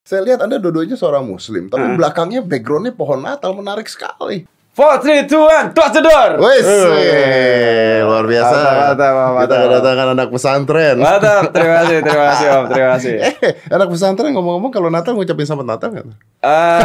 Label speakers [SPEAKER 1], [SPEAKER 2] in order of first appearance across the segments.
[SPEAKER 1] Saya lihat Anda dua-duanya seorang muslim, tapi belakangnya backgroundnya pohon Natal menarik sekali.
[SPEAKER 2] Four, three, two, one, touch the door.
[SPEAKER 1] Wes, eh,
[SPEAKER 2] Eh.
[SPEAKER 1] luar biasa.
[SPEAKER 2] Mantap, mantap, mantap.
[SPEAKER 1] Kita kedatangan anak pesantren.
[SPEAKER 2] Mantap, terima kasih, terima kasih Om, terima kasih.
[SPEAKER 1] Eh, anak pesantren ngomong-ngomong kalau Natal ngucapin selamat Natal nggak?
[SPEAKER 2] Eh,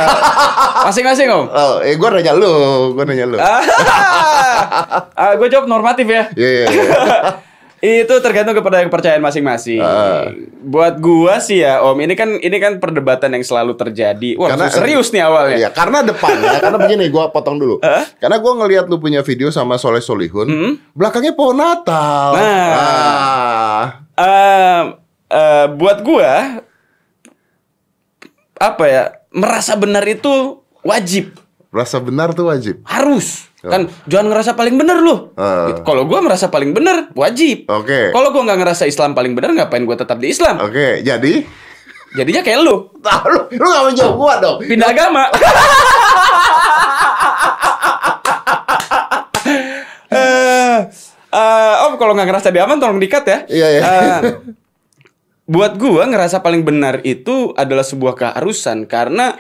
[SPEAKER 2] Masing-masing Om.
[SPEAKER 1] Oh, eh gua nanya lu, gua nanya lu.
[SPEAKER 2] Ah, gue jawab normatif ya.
[SPEAKER 1] Iya, iya, iya.
[SPEAKER 2] Itu tergantung kepada kepercayaan masing-masing.
[SPEAKER 1] Ah.
[SPEAKER 2] Buat gua sih ya, Om, ini kan ini kan perdebatan yang selalu terjadi. Wah,
[SPEAKER 1] Karena-
[SPEAKER 2] serius nih awalnya.
[SPEAKER 1] Iya, karena depannya, karena begini gua potong dulu. Karena gua ngelihat lu punya video sama Soleh Solihun, belakangnya pohon Natal.
[SPEAKER 2] Nah.
[SPEAKER 1] Ah.
[SPEAKER 2] Eh, eh, buat gua apa ya? Merasa benar itu wajib,
[SPEAKER 1] Rasa benar tuh wajib.
[SPEAKER 2] harus. Kan jangan ngerasa paling benar loh.
[SPEAKER 1] Ah.
[SPEAKER 2] Gitu. Kalau gua merasa paling benar, wajib.
[SPEAKER 1] Oke.
[SPEAKER 2] Kalau gua nggak ngerasa Islam paling benar, ngapain gua tetap di Islam?
[SPEAKER 1] Oke, jadi
[SPEAKER 2] Jadinya kayak lu,
[SPEAKER 1] Nah, lu, lu gak menjawab gua dong.
[SPEAKER 2] pindah agama. Eh, eh, om kalau nggak ngerasa di aman tolong dikat ya.
[SPEAKER 1] Iya, iya.
[SPEAKER 2] Eh, buat gua ngerasa paling benar itu adalah sebuah keharusan karena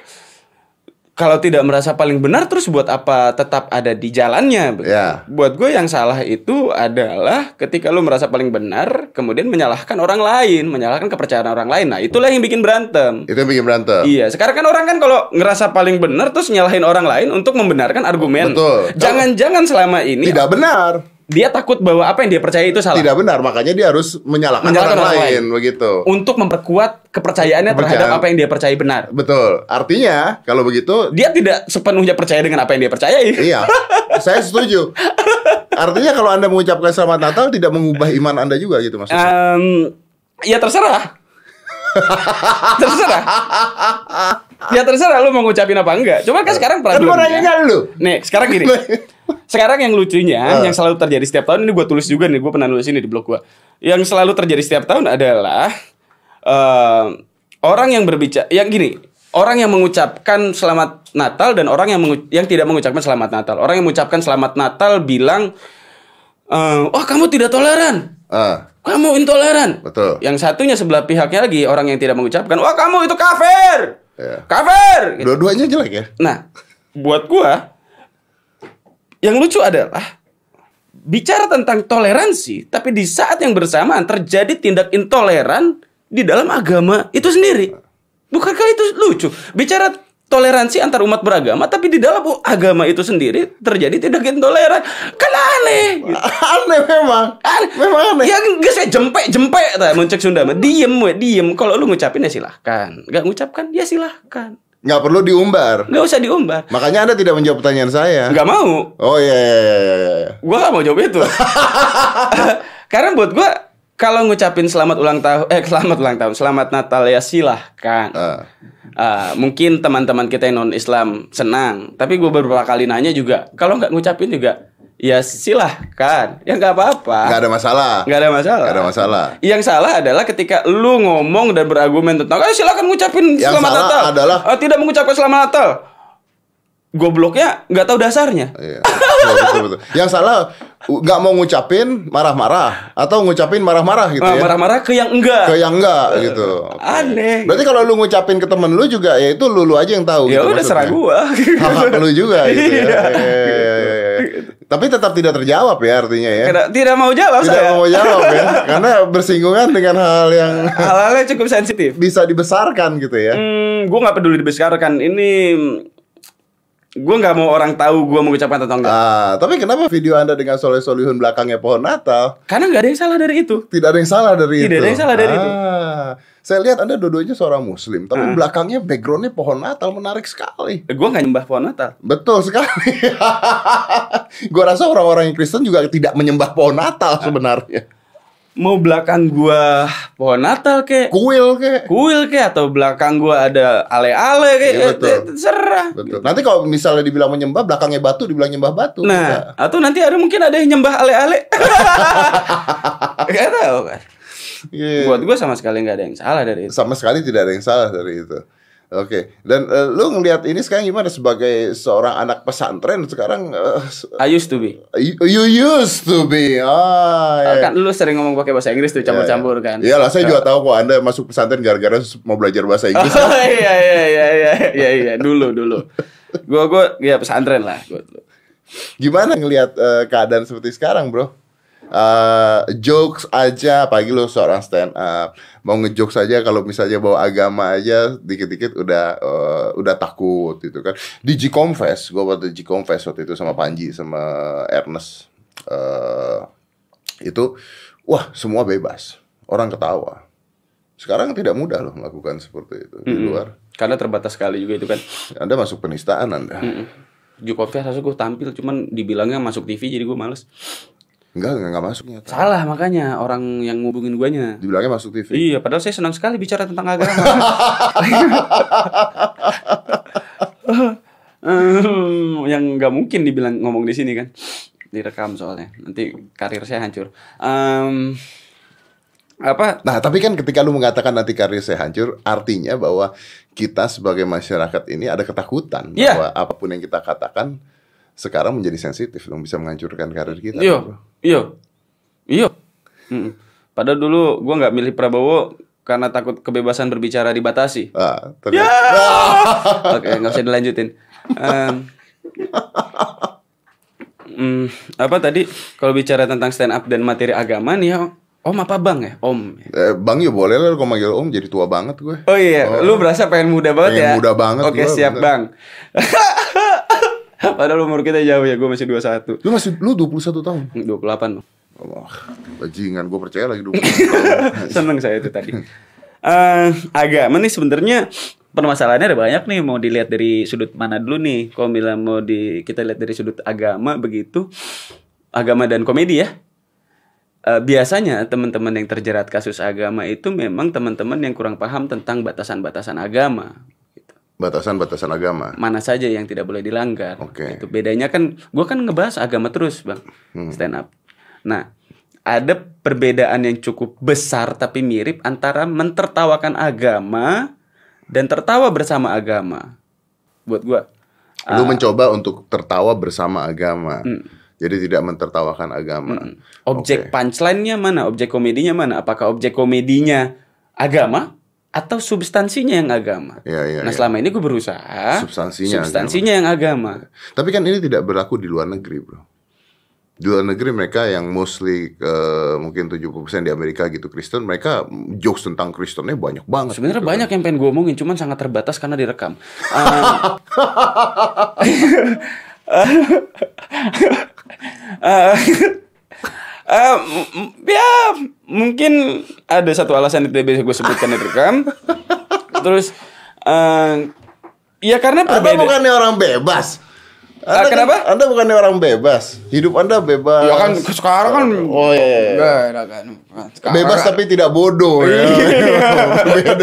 [SPEAKER 2] kalau tidak merasa paling benar terus buat apa tetap ada di jalannya?
[SPEAKER 1] Ya.
[SPEAKER 2] Buat gue yang salah itu adalah ketika lu merasa paling benar kemudian menyalahkan orang lain, menyalahkan kepercayaan orang lain. Nah, itulah yang bikin berantem.
[SPEAKER 1] Itu yang bikin berantem.
[SPEAKER 2] Iya, sekarang kan orang kan kalau ngerasa paling benar terus nyalahin orang lain untuk membenarkan argumen.
[SPEAKER 1] Betul.
[SPEAKER 2] Jangan-jangan selama ini
[SPEAKER 1] Tidak benar.
[SPEAKER 2] dia takut bahwa apa yang dia percaya itu salah.
[SPEAKER 1] Tidak benar, makanya dia harus menyalahkan,
[SPEAKER 2] Menyalahkan
[SPEAKER 1] orang,
[SPEAKER 2] orang
[SPEAKER 1] lain, begitu.
[SPEAKER 2] Untuk memperkuat kepercayaannya terhadap
[SPEAKER 1] Kepercayaan.
[SPEAKER 2] apa yang dia percaya benar.
[SPEAKER 1] Betul. Artinya kalau begitu
[SPEAKER 2] Dia tidak sepenuhnya percaya dengan apa yang dia percayai.
[SPEAKER 1] iya, saya setuju. Artinya kalau Anda mengucapkan selamat Natal tidak mengubah iman Anda juga gitu maksudnya.
[SPEAKER 2] Em, ya terserah. terserah. Ya terserah lu mau ngucapin apa enggak. Cuma kan sekarang
[SPEAKER 1] kan gua
[SPEAKER 2] problemnya-
[SPEAKER 1] nanyanya lu.
[SPEAKER 2] Nih, sekarang gini. Sekarang yang lucunya,
[SPEAKER 1] Ah.
[SPEAKER 2] yang selalu terjadi setiap tahun ini gue tulis juga nih, gue pernah nulis ini di blog gue. Yang selalu terjadi setiap tahun adalah eh, orang yang berbicara, yang gini, orang yang mengucapkan selamat Natal dan orang yang mengu- yang tidak mengucapkan selamat Natal. Orang yang mengucapkan selamat Natal bilang, eh, "Wah, kamu tidak toleran."
[SPEAKER 1] Ah,
[SPEAKER 2] Kamu intoleran.
[SPEAKER 1] Betul.
[SPEAKER 2] Yang satunya sebelah pihaknya lagi orang yang tidak mengucapkan, "Wah, kamu itu kafir."
[SPEAKER 1] Iya.
[SPEAKER 2] Kafir.
[SPEAKER 1] dua-duanya jelek ya.
[SPEAKER 2] Nah, buat gua yang lucu adalah bicara tentang toleransi, tapi di saat yang bersamaan terjadi tindak intoleran di dalam agama itu sendiri. Bukankah itu lucu? Bicara toleransi antar umat beragama, tapi di dalam agama itu sendiri terjadi tindak intoleran. Kan aneh. gitu.
[SPEAKER 1] aneh memang.
[SPEAKER 2] Aneh.
[SPEAKER 1] Memang aneh.
[SPEAKER 2] Ya nggak saya jempek jempek ta muncak Sunda mah. Diem we, diem. Kalau lu ngucapin ya silahkan. Gak ngucapkan ya silahkan.
[SPEAKER 1] Nggak perlu diumbar.
[SPEAKER 2] Gak usah diumbar.
[SPEAKER 1] Makanya Anda tidak menjawab pertanyaan saya.
[SPEAKER 2] Gak mau.
[SPEAKER 1] Oh iya iya iya iya, iya.
[SPEAKER 2] Gua gak mau jawab itu. Karena buat gua kalau ngucapin selamat ulang tahun, eh selamat ulang tahun, selamat Natal ya silahkan.
[SPEAKER 1] Ah.
[SPEAKER 2] Ah, mungkin teman-teman kita yang non Islam senang, tapi gue beberapa kali nanya juga, kalau nggak ngucapin juga, ya silahkan, ya nggak apa-apa,
[SPEAKER 1] Nggak ada masalah.
[SPEAKER 2] nggak ada masalah.
[SPEAKER 1] Nggak ada masalah.
[SPEAKER 2] Yang salah adalah ketika lu ngomong dan berargumen tentang, "Eh, silakan ngucapin
[SPEAKER 1] Yang
[SPEAKER 2] selamat
[SPEAKER 1] salah
[SPEAKER 2] Natal."
[SPEAKER 1] adalah-
[SPEAKER 2] "Eh, tidak mengucapkan selamat Natal. Gobloknya nggak tahu dasarnya.
[SPEAKER 1] Iya, betul, betul, betul. Yang salah u- nggak mau ngucapin marah-marah atau ngucapin marah-marah gitu ya.
[SPEAKER 2] Ah, Marah-marah ke yang enggak.
[SPEAKER 1] Kayak enggak gitu. Oke.
[SPEAKER 2] Aneh.
[SPEAKER 1] Berarti kalau lu ngucapin ke temen lu juga ya itu lu, lu aja yang tahu. gitu
[SPEAKER 2] ya udah
[SPEAKER 1] maksudnya.
[SPEAKER 2] serah gua.
[SPEAKER 1] Hak lu juga gitu ya.
[SPEAKER 2] Iya.
[SPEAKER 1] Iya, iya, iya, iya. Tapi tetap tidak terjawab ya artinya ya.
[SPEAKER 2] Karena tidak mau jawab
[SPEAKER 1] Tidak
[SPEAKER 2] saya.
[SPEAKER 1] mau jawab ya. Karena bersinggungan dengan hal yang
[SPEAKER 2] Hal-halnya cukup sensitif.
[SPEAKER 1] bisa dibesarkan gitu ya.
[SPEAKER 2] Hmm, gua nggak peduli dibesarkan. Ini mm, gua nggak mau orang tahu gua mengucapkan atau enggak.
[SPEAKER 1] Ah, tapi kenapa video Anda dengan Soleh Solihun belakangnya pohon Natal?
[SPEAKER 2] Karena nggak ada yang salah dari itu.
[SPEAKER 1] Tidak ada yang salah dari itu. Ah,
[SPEAKER 2] Tidak ada yang salah dari itu. Ah.
[SPEAKER 1] Saya lihat Anda dua-duanya seorang muslim, tapi belakangnya backgroundnya pohon Natal menarik sekali.
[SPEAKER 2] Gua nggak nyembah pohon Natal.
[SPEAKER 1] Betul sekali. gua rasa orang-orang yang Kristen juga tidak menyembah pohon Natal sebenarnya.
[SPEAKER 2] Mau belakang gua pohon Natal kek,
[SPEAKER 1] Kuil kek.
[SPEAKER 2] kuil kek, atau belakang gua ada ale-ale kek,
[SPEAKER 1] Iya,
[SPEAKER 2] eh,
[SPEAKER 1] betul.
[SPEAKER 2] eh, serah.
[SPEAKER 1] Betul. Nanti kalau misalnya dibilang menyembah belakangnya batu, dibilang nyembah batu. Enggak.
[SPEAKER 2] Nah, atau nanti ada mungkin ada yang nyembah ale-ale. Gak tahu kan.
[SPEAKER 1] Iya.
[SPEAKER 2] Buat gua sama sekali nggak ada yang salah dari itu.
[SPEAKER 1] sama sekali tidak ada yang salah dari itu. Eh, Oke, dan eh, lu ngelihat ini sekarang gimana sebagai seorang anak pesantren sekarang eh, s-
[SPEAKER 2] I used to be.
[SPEAKER 1] you, you used to be. Ah, ya.
[SPEAKER 2] Kan lu sering ngomong pakai bahasa Inggris tuh campur-campur kan.
[SPEAKER 1] Iya, Iyalah, saya juga tahu kok Anda masuk pesantren gara-gara mau belajar bahasa Inggris.
[SPEAKER 2] Oh, iya iya iya iya iya iya dulu dulu. Gua gua ya pesantren lah gua. tuh.
[SPEAKER 1] Gimana ngelihat eh, keadaan seperti sekarang, Bro? Eh, jokes aja, pagi lu seorang stand up. Mau ngejokes aja kalau misalnya bawa agama aja dikit-dikit udah eh, udah takut gitu kan. Di G Confess, gua waktu G Confess waktu itu sama Panji sama Ernest eh, itu wah semua bebas. Orang ketawa. Sekarang tidak mudah loh melakukan seperti itu di luar.
[SPEAKER 2] Karena terbatas sekali juga itu kan.
[SPEAKER 1] Anda masuk penistaan Anda.
[SPEAKER 2] Jukovic harusnya gue tampil cuman dibilangnya masuk TV jadi gue males.
[SPEAKER 1] Enggak, enggak, enggak masuk nyata.
[SPEAKER 2] Salah makanya orang yang ngubungin guanya.
[SPEAKER 1] Dibilangnya masuk TV.
[SPEAKER 2] Iya, padahal saya senang sekali bicara tentang agama. Hmm, yang nggak mungkin dibilang ngomong di sini kan, direkam soalnya. Nanti karir saya hancur. Em, apa?
[SPEAKER 1] Nah, tapi kan ketika lu mengatakan nanti karir saya hancur, artinya bahwa kita sebagai masyarakat ini ada ketakutan
[SPEAKER 2] Iya.
[SPEAKER 1] bahwa apapun yang kita katakan sekarang menjadi sensitif dan bisa menghancurkan karir kita.
[SPEAKER 2] Iyo, iyo, iyo. Iya, Mm-mm. Padahal dulu gua nggak milih Prabowo karena takut kebebasan berbicara dibatasi.
[SPEAKER 1] Ah, terus-
[SPEAKER 2] Ya. Oke, nggak usah dilanjutin. Em, mm, apa tadi kalau bicara tentang stand up dan materi agama nih ya, Om apa Bang ya? Om.
[SPEAKER 1] Eh, Bang, ya boleh lah kalau manggil Om jadi tua banget gue.
[SPEAKER 2] Oh iya, lu berasa pengen muda banget
[SPEAKER 1] Pengen
[SPEAKER 2] ya?
[SPEAKER 1] muda banget
[SPEAKER 2] Oke,
[SPEAKER 1] gua,
[SPEAKER 2] siap
[SPEAKER 1] bener.
[SPEAKER 2] Bang. Padahal umur kita jauh ya, gue masih 21.
[SPEAKER 1] Lu masih lu 21 tahun.
[SPEAKER 2] 28.
[SPEAKER 1] Wah, bajingan gue percaya lagi 21 tahun.
[SPEAKER 2] Seneng saya itu tadi. Eh, agama nih sebenarnya permasalahannya ada banyak nih mau dilihat dari sudut mana dulu nih. Kalau bilang mau di kita lihat dari sudut agama begitu agama dan komedi ya. Eh, biasanya teman-teman yang terjerat kasus agama itu memang teman-teman yang kurang paham tentang batasan-batasan agama. Gitu.
[SPEAKER 1] Batasan-batasan agama.
[SPEAKER 2] Mana saja yang tidak boleh dilanggar.
[SPEAKER 1] Oke.
[SPEAKER 2] Gitu. Bedanya kan gua kan ngebahas agama terus, Bang.
[SPEAKER 1] Hmm.
[SPEAKER 2] Stand up. Nah, ada perbedaan yang cukup besar tapi mirip antara mentertawakan agama dan tertawa bersama agama. Buat gua.
[SPEAKER 1] Lu
[SPEAKER 2] Ah.
[SPEAKER 1] mencoba untuk tertawa bersama agama.
[SPEAKER 2] Hmm.
[SPEAKER 1] Jadi tidak mentertawakan agama.
[SPEAKER 2] Objek punchline-nya mana? Objek komedinya mana? Apakah objek komedinya agama atau substansinya yang agama?
[SPEAKER 1] Iya, iya,
[SPEAKER 2] nah,
[SPEAKER 1] iya.
[SPEAKER 2] selama ini gue berusaha
[SPEAKER 1] Substansinya
[SPEAKER 2] substansinya yang agama.
[SPEAKER 1] Tapi kan ini tidak berlaku di luar negeri, bro. Di luar negeri mereka yang mostly eh, mungkin 70% di Amerika gitu Kristen, mereka jokes tentang Kristennya banyak banget.
[SPEAKER 2] Sebenarnya banyak yang pengen gue omongin, cuman sangat terbatas karena direkam. Um, eh, eh, m- m- ya mungkin ada satu alasan yang tidak bisa gue sebutkan direkam. Terus eh, ya karena
[SPEAKER 1] Anda
[SPEAKER 2] perbedaan.
[SPEAKER 1] bukannya orang bebas. Anda
[SPEAKER 2] Ah, kenapa?
[SPEAKER 1] Kan, anda bukannya orang bebas. Hidup Anda bebas.
[SPEAKER 2] Ya kan sekarang kan
[SPEAKER 1] Oh iya, iya, iya.
[SPEAKER 2] Enggak, enggak, enggak. Sekarang-
[SPEAKER 1] Bebas tapi tidak bodoh ya. beda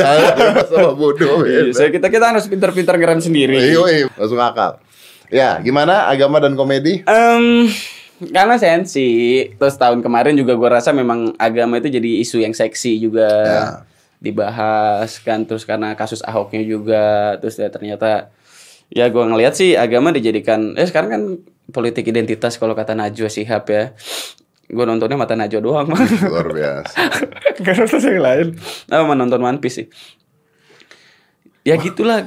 [SPEAKER 1] bebas sama bodoh.
[SPEAKER 2] Iya,
[SPEAKER 1] Beda.
[SPEAKER 2] saya kita kita harus pintar-pintar ngerem sendiri.
[SPEAKER 1] Iya, iya, masuk akal. Ya, gimana agama dan komedi?
[SPEAKER 2] Em, karena sensi terus tahun kemarin juga gua rasa memang agama itu jadi isu yang seksi juga
[SPEAKER 1] Ya.
[SPEAKER 2] dibahas kan terus karena kasus ahoknya juga terus ya ternyata ya gua ngelihat sih agama dijadikan eh sekarang kan politik identitas kalau kata Najwa Shihab ya gue nontonnya mata Najwa doang
[SPEAKER 1] Luar biasa.
[SPEAKER 2] Gak nonton yang lain. Oh, menonton One Piece sih. Ya gitulah.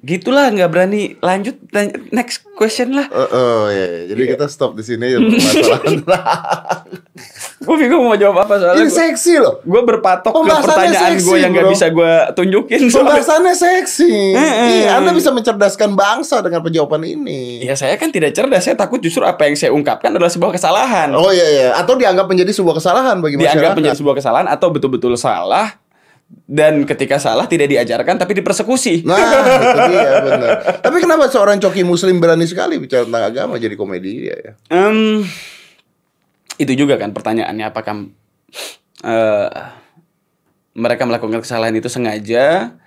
[SPEAKER 2] Gitulah nggak berani lanjut lan- next question lah.
[SPEAKER 1] Oh, oh, iya, iya. Jadi kita stop di sini ya permasalahan.
[SPEAKER 2] Gue bingung mau jawab apa soalnya.
[SPEAKER 1] Ini seksi loh.
[SPEAKER 2] Gue berpatok ke
[SPEAKER 1] Iya, Pembahasannya
[SPEAKER 2] pertanyaan
[SPEAKER 1] seksi,
[SPEAKER 2] gue yang nggak
[SPEAKER 1] bro.
[SPEAKER 2] bisa gue tunjukin. soalnya.
[SPEAKER 1] Pembahasannya seksi.
[SPEAKER 2] Heeh.
[SPEAKER 1] Iya, Anda bisa mencerdaskan bangsa dengan penjawaban ini.
[SPEAKER 2] Ya saya kan tidak cerdas. Saya takut justru apa yang saya ungkapkan adalah sebuah kesalahan.
[SPEAKER 1] Oh iya iya, atau dianggap menjadi sebuah kesalahan bagi
[SPEAKER 2] Dianggap
[SPEAKER 1] masyarakat.
[SPEAKER 2] menjadi sebuah kesalahan atau betul-betul salah. Dan ketika salah tidak diajarkan tapi dipersekusi.
[SPEAKER 1] Nah, itu dia benar. Tapi kenapa seorang coki muslim berani sekali bicara tentang agama jadi komedi dia ya?
[SPEAKER 2] Em, itu juga kan pertanyaannya apakah eh, mereka melakukan kesalahan itu sengaja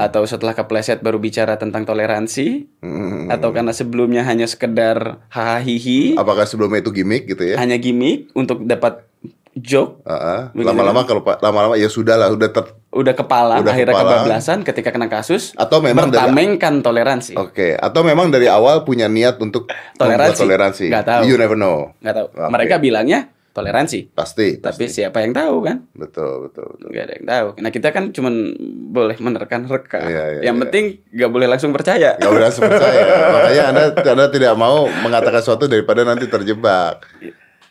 [SPEAKER 2] atau setelah kepleset baru bicara tentang toleransi
[SPEAKER 1] Hmm.
[SPEAKER 2] atau karena sebelumnya hanya sekedar hahihi
[SPEAKER 1] Apakah sebelumnya itu gimmick gitu ya?
[SPEAKER 2] hanya gimmick untuk dapat joke
[SPEAKER 1] Heeh.
[SPEAKER 2] Begini.
[SPEAKER 1] Lama-lama kalau lama-lama ya sudah lah, udah ter-
[SPEAKER 2] udah kepala
[SPEAKER 1] Udah
[SPEAKER 2] akhirnya
[SPEAKER 1] kepalang.
[SPEAKER 2] kebablasan ketika kena kasus
[SPEAKER 1] Atau memang dari-
[SPEAKER 2] bertamengkan toleransi.
[SPEAKER 1] Oke, atau memang dari awal punya niat untuk membuat
[SPEAKER 2] Toleransi.
[SPEAKER 1] Iya. toleransi.
[SPEAKER 2] Nggak tahu.
[SPEAKER 1] You never know.
[SPEAKER 2] nggak tahu.
[SPEAKER 1] Oke.
[SPEAKER 2] Mereka bilangnya toleransi,
[SPEAKER 1] Pasti.
[SPEAKER 2] tapi siapa yang tahu kan?
[SPEAKER 1] Betul, betul, betul.
[SPEAKER 2] Nggak ada yang tahu. Nah kita kan cuman boleh menerkan reka.
[SPEAKER 1] Iya, iya,
[SPEAKER 2] yang
[SPEAKER 1] iya.
[SPEAKER 2] penting nggak boleh langsung percaya.
[SPEAKER 1] Gak berasa percaya. Makanya anda, anda tidak mau mengatakan sesuatu daripada nanti terjebak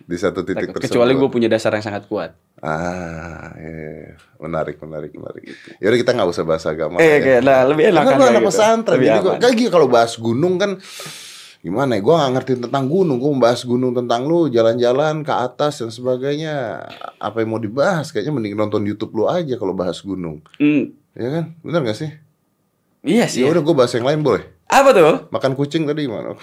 [SPEAKER 1] di satu titik tersebut.
[SPEAKER 2] Kecuali gue punya dasar yang sangat kuat.
[SPEAKER 1] Ah, iya, iya. menarik, menarik, menarik. Yaudah kita nggak usah bahas agama. ya.
[SPEAKER 2] Eh, kayak lah lebih enak
[SPEAKER 1] Karena
[SPEAKER 2] kan
[SPEAKER 1] gue
[SPEAKER 2] kayak
[SPEAKER 1] anak
[SPEAKER 2] gitu.
[SPEAKER 1] pesantren,
[SPEAKER 2] Lebih
[SPEAKER 1] jadi gue
[SPEAKER 2] aman.
[SPEAKER 1] kayak gini kalau bahas gunung kan gimana ya? Gue nggak ngerti tentang gunung, gue membahas gunung tentang lu jalan-jalan ke atas dan sebagainya. Apa yang mau dibahas? Kayaknya mending nonton YouTube lu aja kalau bahas gunung,
[SPEAKER 2] Hmm,
[SPEAKER 1] ya kan? Bener gak sih?
[SPEAKER 2] iya sih.
[SPEAKER 1] Ya udah gue bahas yang lain boleh.
[SPEAKER 2] Apa tuh?
[SPEAKER 1] Makan kucing tadi gimana?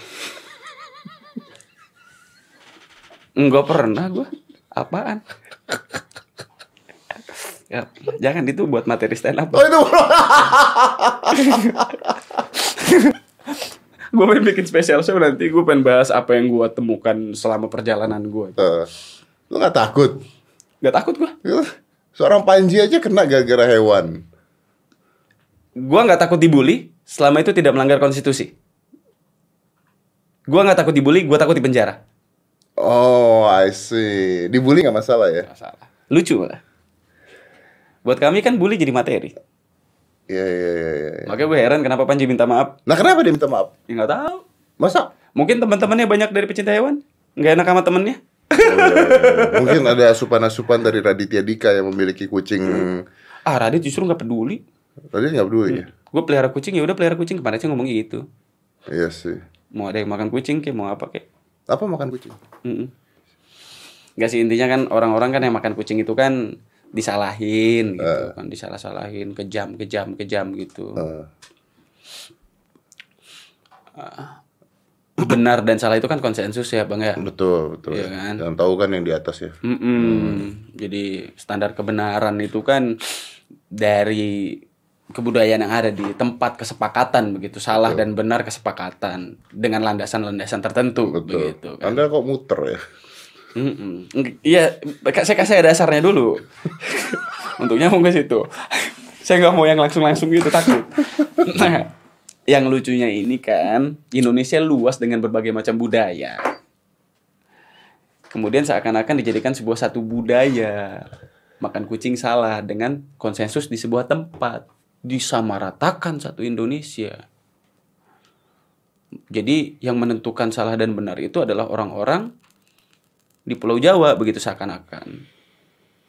[SPEAKER 2] Enggak pernah gue. Apaan? Ya, jangan itu buat materi stand up.
[SPEAKER 1] Oh itu
[SPEAKER 2] gue pengen bikin special show nanti gue pengen bahas apa yang gue temukan selama perjalanan gue.
[SPEAKER 1] Eh, lu nggak takut?
[SPEAKER 2] Gak takut gue.
[SPEAKER 1] Seorang Panji aja kena gara-gara hewan.
[SPEAKER 2] Gue nggak takut dibully selama itu tidak melanggar konstitusi. Gue nggak takut dibully, gue takut dipenjara.
[SPEAKER 1] Oh, I see. Dibully nggak masalah ya?
[SPEAKER 2] Masalah. Lucu malah. Buat kami kan bully jadi materi.
[SPEAKER 1] Iya, iya, iya. iya.
[SPEAKER 2] Makanya gue heran kenapa Panji minta maaf.
[SPEAKER 1] Nah, kenapa dia minta maaf?
[SPEAKER 2] Ya nggak tahu.
[SPEAKER 1] Masa?
[SPEAKER 2] Mungkin teman-temannya banyak dari pecinta hewan. Nggak enak sama temennya.
[SPEAKER 1] Oh, iya, Mungkin ada asupan-asupan dari Raditya Dika yang memiliki kucing.
[SPEAKER 2] Ah Radit justru nggak peduli.
[SPEAKER 1] Tadi nggak peduli ya?
[SPEAKER 2] Gue pelihara kucing ya udah pelihara kucing kemarin aja ngomong gitu.
[SPEAKER 1] Iya sih.
[SPEAKER 2] Mau ada yang makan kucing kayak mau apa kayak.
[SPEAKER 1] Apa makan kucing?
[SPEAKER 2] Mm-mm. Nggak sih intinya kan orang-orang kan yang makan kucing itu kan disalahin gitu kan disalah-salahin kejam kejam kejam gitu.
[SPEAKER 1] Eh,
[SPEAKER 2] Benar dan salah itu kan konsensus ya bang ya.
[SPEAKER 1] betul, betul. ya.
[SPEAKER 2] Iya kan?
[SPEAKER 1] Yang tahu kan yang di atas ya.
[SPEAKER 2] Mm-mm. Jadi standar kebenaran itu kan dari kebudayaan yang ada di tempat kesepakatan begitu salah dan benar kesepakatan dengan landasan-landasan tertentu
[SPEAKER 1] Betul.
[SPEAKER 2] begitu kan.
[SPEAKER 1] Anda kok muter ya?
[SPEAKER 2] Mm-mm. Iya, Kak, saya kasih dasarnya dulu. Untuk nyambung ke situ. saya nggak mau yang langsung-langsung gitu takut. Nah, yang lucunya ini kan Indonesia luas dengan berbagai macam budaya. Kemudian seakan-akan dijadikan sebuah satu budaya. Makan kucing salah dengan konsensus di sebuah tempat. Disamaratakan satu Indonesia. Jadi yang menentukan salah dan benar itu adalah orang-orang di Pulau Jawa begitu seakan-akan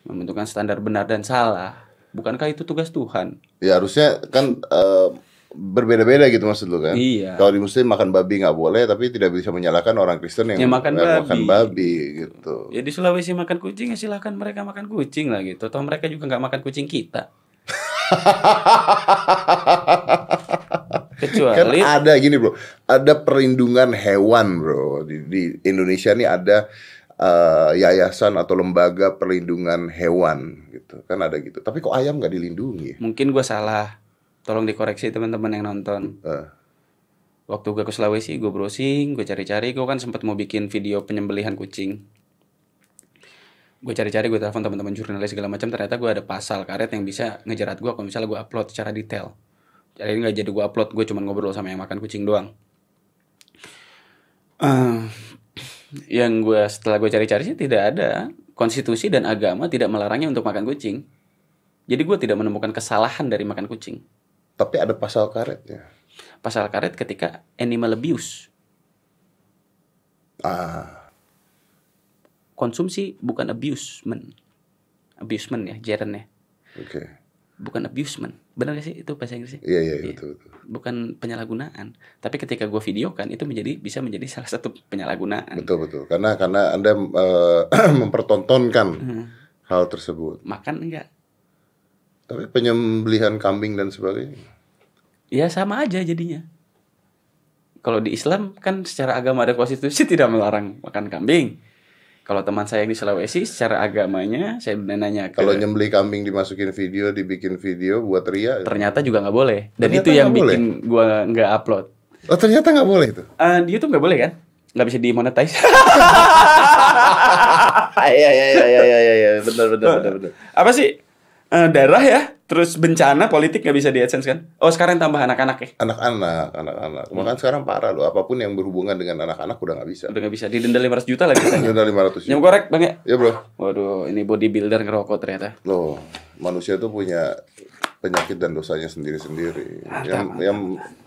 [SPEAKER 2] membentukkan standar benar dan salah. Bukankah itu tugas Tuhan?
[SPEAKER 1] Ya harusnya kan eh, berbeda-beda gitu maksud lu kan?
[SPEAKER 2] Iya.
[SPEAKER 1] Kalau di muslim makan babi nggak boleh, tapi tidak bisa menyalahkan orang Kristen yang,
[SPEAKER 2] Yang Ya, makan
[SPEAKER 1] yang
[SPEAKER 2] babi.
[SPEAKER 1] makan babi gitu.
[SPEAKER 2] Ya di Sulawesi makan kucing ya silahkan mereka makan kucing lah gitu. Toh mereka juga nggak makan kucing kita.
[SPEAKER 1] Kan
[SPEAKER 2] Kecuali
[SPEAKER 1] ada gini bro, ada perlindungan hewan bro di, di Indonesia nih ada eh, yayasan atau lembaga perlindungan hewan gitu kan ada gitu. Tapi kok ayam nggak dilindungi? ya?
[SPEAKER 2] mungkin gue salah. Tolong dikoreksi teman-teman yang nonton.
[SPEAKER 1] Eh,
[SPEAKER 2] Waktu gue ke Sulawesi, gue browsing, gue cari-cari, gue kan sempat mau bikin video penyembelihan kucing. Gue cari-cari, gue telepon teman-teman jurnalis segala macam, ternyata gue ada pasal karet yang bisa ngejerat gue kalau misalnya gue upload secara detail. Jadi ini nggak jadi gue upload, gue cuma ngobrol sama yang makan kucing doang. Eh, yang gue setelah gue cari-cari sih tidak ada konstitusi dan agama tidak melarangnya untuk makan kucing. Jadi gue tidak menemukan kesalahan dari makan kucing.
[SPEAKER 1] tapi ada pasal karet ya.
[SPEAKER 2] Pasal karet ketika animal abuse.
[SPEAKER 1] Ah,
[SPEAKER 2] konsumsi bukan abusement. Abusement ya, jarennya.
[SPEAKER 1] oke.
[SPEAKER 2] Bukan abusement. Benar gak sih itu bahasa Inggrisnya?
[SPEAKER 1] Iya iya
[SPEAKER 2] Iya.
[SPEAKER 1] betul betul
[SPEAKER 2] Bukan penyalahgunaan. Tapi ketika gue videokan itu menjadi bisa menjadi salah satu penyalahgunaan.
[SPEAKER 1] betul betul. Karena karena anda eh, mempertontonkan
[SPEAKER 2] Hmm.
[SPEAKER 1] hal tersebut.
[SPEAKER 2] Makan enggak?
[SPEAKER 1] Tapi penyembelihan kambing dan sebagainya.
[SPEAKER 2] Ya sama aja jadinya. Kalau di Islam kan secara agama ada konstitusi tidak melarang makan kambing. Kalau teman saya yang di Sulawesi secara agamanya saya nanya ke
[SPEAKER 1] Kalau nyembeli kambing dimasukin video, dibikin video buat ria.
[SPEAKER 2] ternyata juga nggak boleh. Dan
[SPEAKER 1] Ternyata
[SPEAKER 2] itu yang
[SPEAKER 1] nggak boleh.
[SPEAKER 2] bikin gue nggak upload.
[SPEAKER 1] Oh ternyata nggak boleh itu.
[SPEAKER 2] Eh, di YouTube nggak boleh kan? Nggak bisa dimonetize. iya.
[SPEAKER 1] Ah, iya iya iya iya iya iya benar benar benar benar.
[SPEAKER 2] apa sih eh, darah ya, terus bencana politik nggak bisa di AdSense kan? Oh sekarang tambah anak-anak ya,
[SPEAKER 1] anak-anak, anak-anak.
[SPEAKER 2] Hmm.
[SPEAKER 1] Makan sekarang parah loh. Apapun yang berhubungan dengan anak-anak udah nggak bisa.
[SPEAKER 2] udah nggak bisa didenda 500 juta lagi katanya.
[SPEAKER 1] Denda 500
[SPEAKER 2] Nyam
[SPEAKER 1] juta.
[SPEAKER 2] korek bang ya?
[SPEAKER 1] Ya bro,
[SPEAKER 2] Waduh, ini bodybuilder ngerokok ternyata.
[SPEAKER 1] loh manusia tuh punya penyakit dan dosanya sendiri-sendiri.
[SPEAKER 2] Ah,
[SPEAKER 1] Yang yang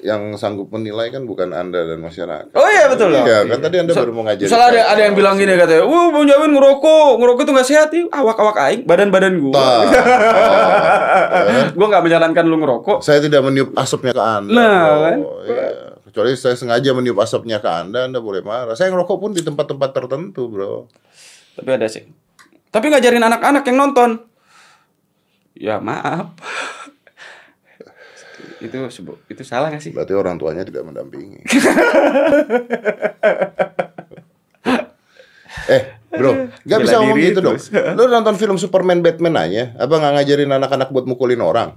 [SPEAKER 1] yang sanggup menilai kan bukan anda dan masyarakat.
[SPEAKER 2] Oh iya betul loh.
[SPEAKER 1] Iya, kan tadi anda baru mau ngajarin.
[SPEAKER 2] Misalnya ada
[SPEAKER 1] saya.
[SPEAKER 2] ada yang bilang gini katanya, "Wah, Bang Jamin ngerokok, ngerokok itu nggak sehat, ih. awak-awak aing, badan-badan
[SPEAKER 1] Ah,
[SPEAKER 2] gua."
[SPEAKER 1] ah, eh.
[SPEAKER 2] Gua nggak menyarankan lu ngerokok.
[SPEAKER 1] Saya tidak meniup asapnya ke anda.
[SPEAKER 2] Nah,
[SPEAKER 1] bro.
[SPEAKER 2] kan?
[SPEAKER 1] Iya. Kecuali saya sengaja meniup asapnya ke anda, anda boleh marah. Saya ngerokok pun di tempat-tempat tertentu, bro.
[SPEAKER 2] Tapi ada sih. Tapi ngajarin anak-anak yang nonton. Ya, maaf. itu sebu- itu salah nggak sih?
[SPEAKER 1] Berarti orang tuanya tidak mendampingi. eh, bro, nggak
[SPEAKER 2] Bela
[SPEAKER 1] bisa ngomong
[SPEAKER 2] diri
[SPEAKER 1] gitu dong.
[SPEAKER 2] terus.
[SPEAKER 1] Lu nonton film Superman Batman aja, apa nggak ngajarin anak-anak buat mukulin orang?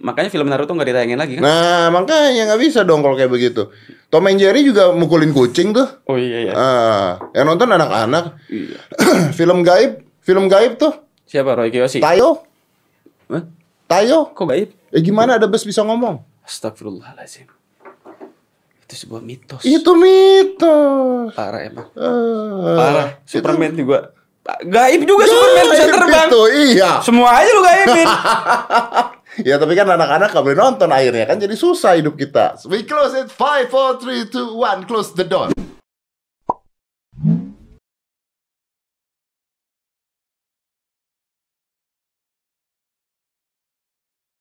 [SPEAKER 2] Makanya film Naruto nggak ditayangin lagi kan?
[SPEAKER 1] Nah, makanya nggak bisa dong kalau kayak begitu. Tom and Jerry juga mukulin kucing tuh.
[SPEAKER 2] Oh iya iya.
[SPEAKER 1] Ah, yang nonton anak-anak.
[SPEAKER 2] Iya.
[SPEAKER 1] film gaib, film gaib tuh.
[SPEAKER 2] Siapa Roy Kiyoshi?
[SPEAKER 1] Tayo,
[SPEAKER 2] Hah?
[SPEAKER 1] Tayo.
[SPEAKER 2] Kok gaib?
[SPEAKER 1] Eh gimana ada bus bisa ngomong?
[SPEAKER 2] Astagfirullahalazim. Itu sebuah mitos.
[SPEAKER 1] Itu mitos.
[SPEAKER 2] Parah emang.
[SPEAKER 1] Ah,
[SPEAKER 2] Parah.
[SPEAKER 1] itu-
[SPEAKER 2] Superman juga. Gaib
[SPEAKER 1] Eh,
[SPEAKER 2] juga Superman bisa
[SPEAKER 1] Gaib
[SPEAKER 2] terbang.
[SPEAKER 1] itu, iya.
[SPEAKER 2] Semua aja lu gaibin.
[SPEAKER 1] Ya tapi kan anak-anak gak boleh nonton akhirnya kan jadi susah hidup kita. We close it 5 4 3 2 1 close the door.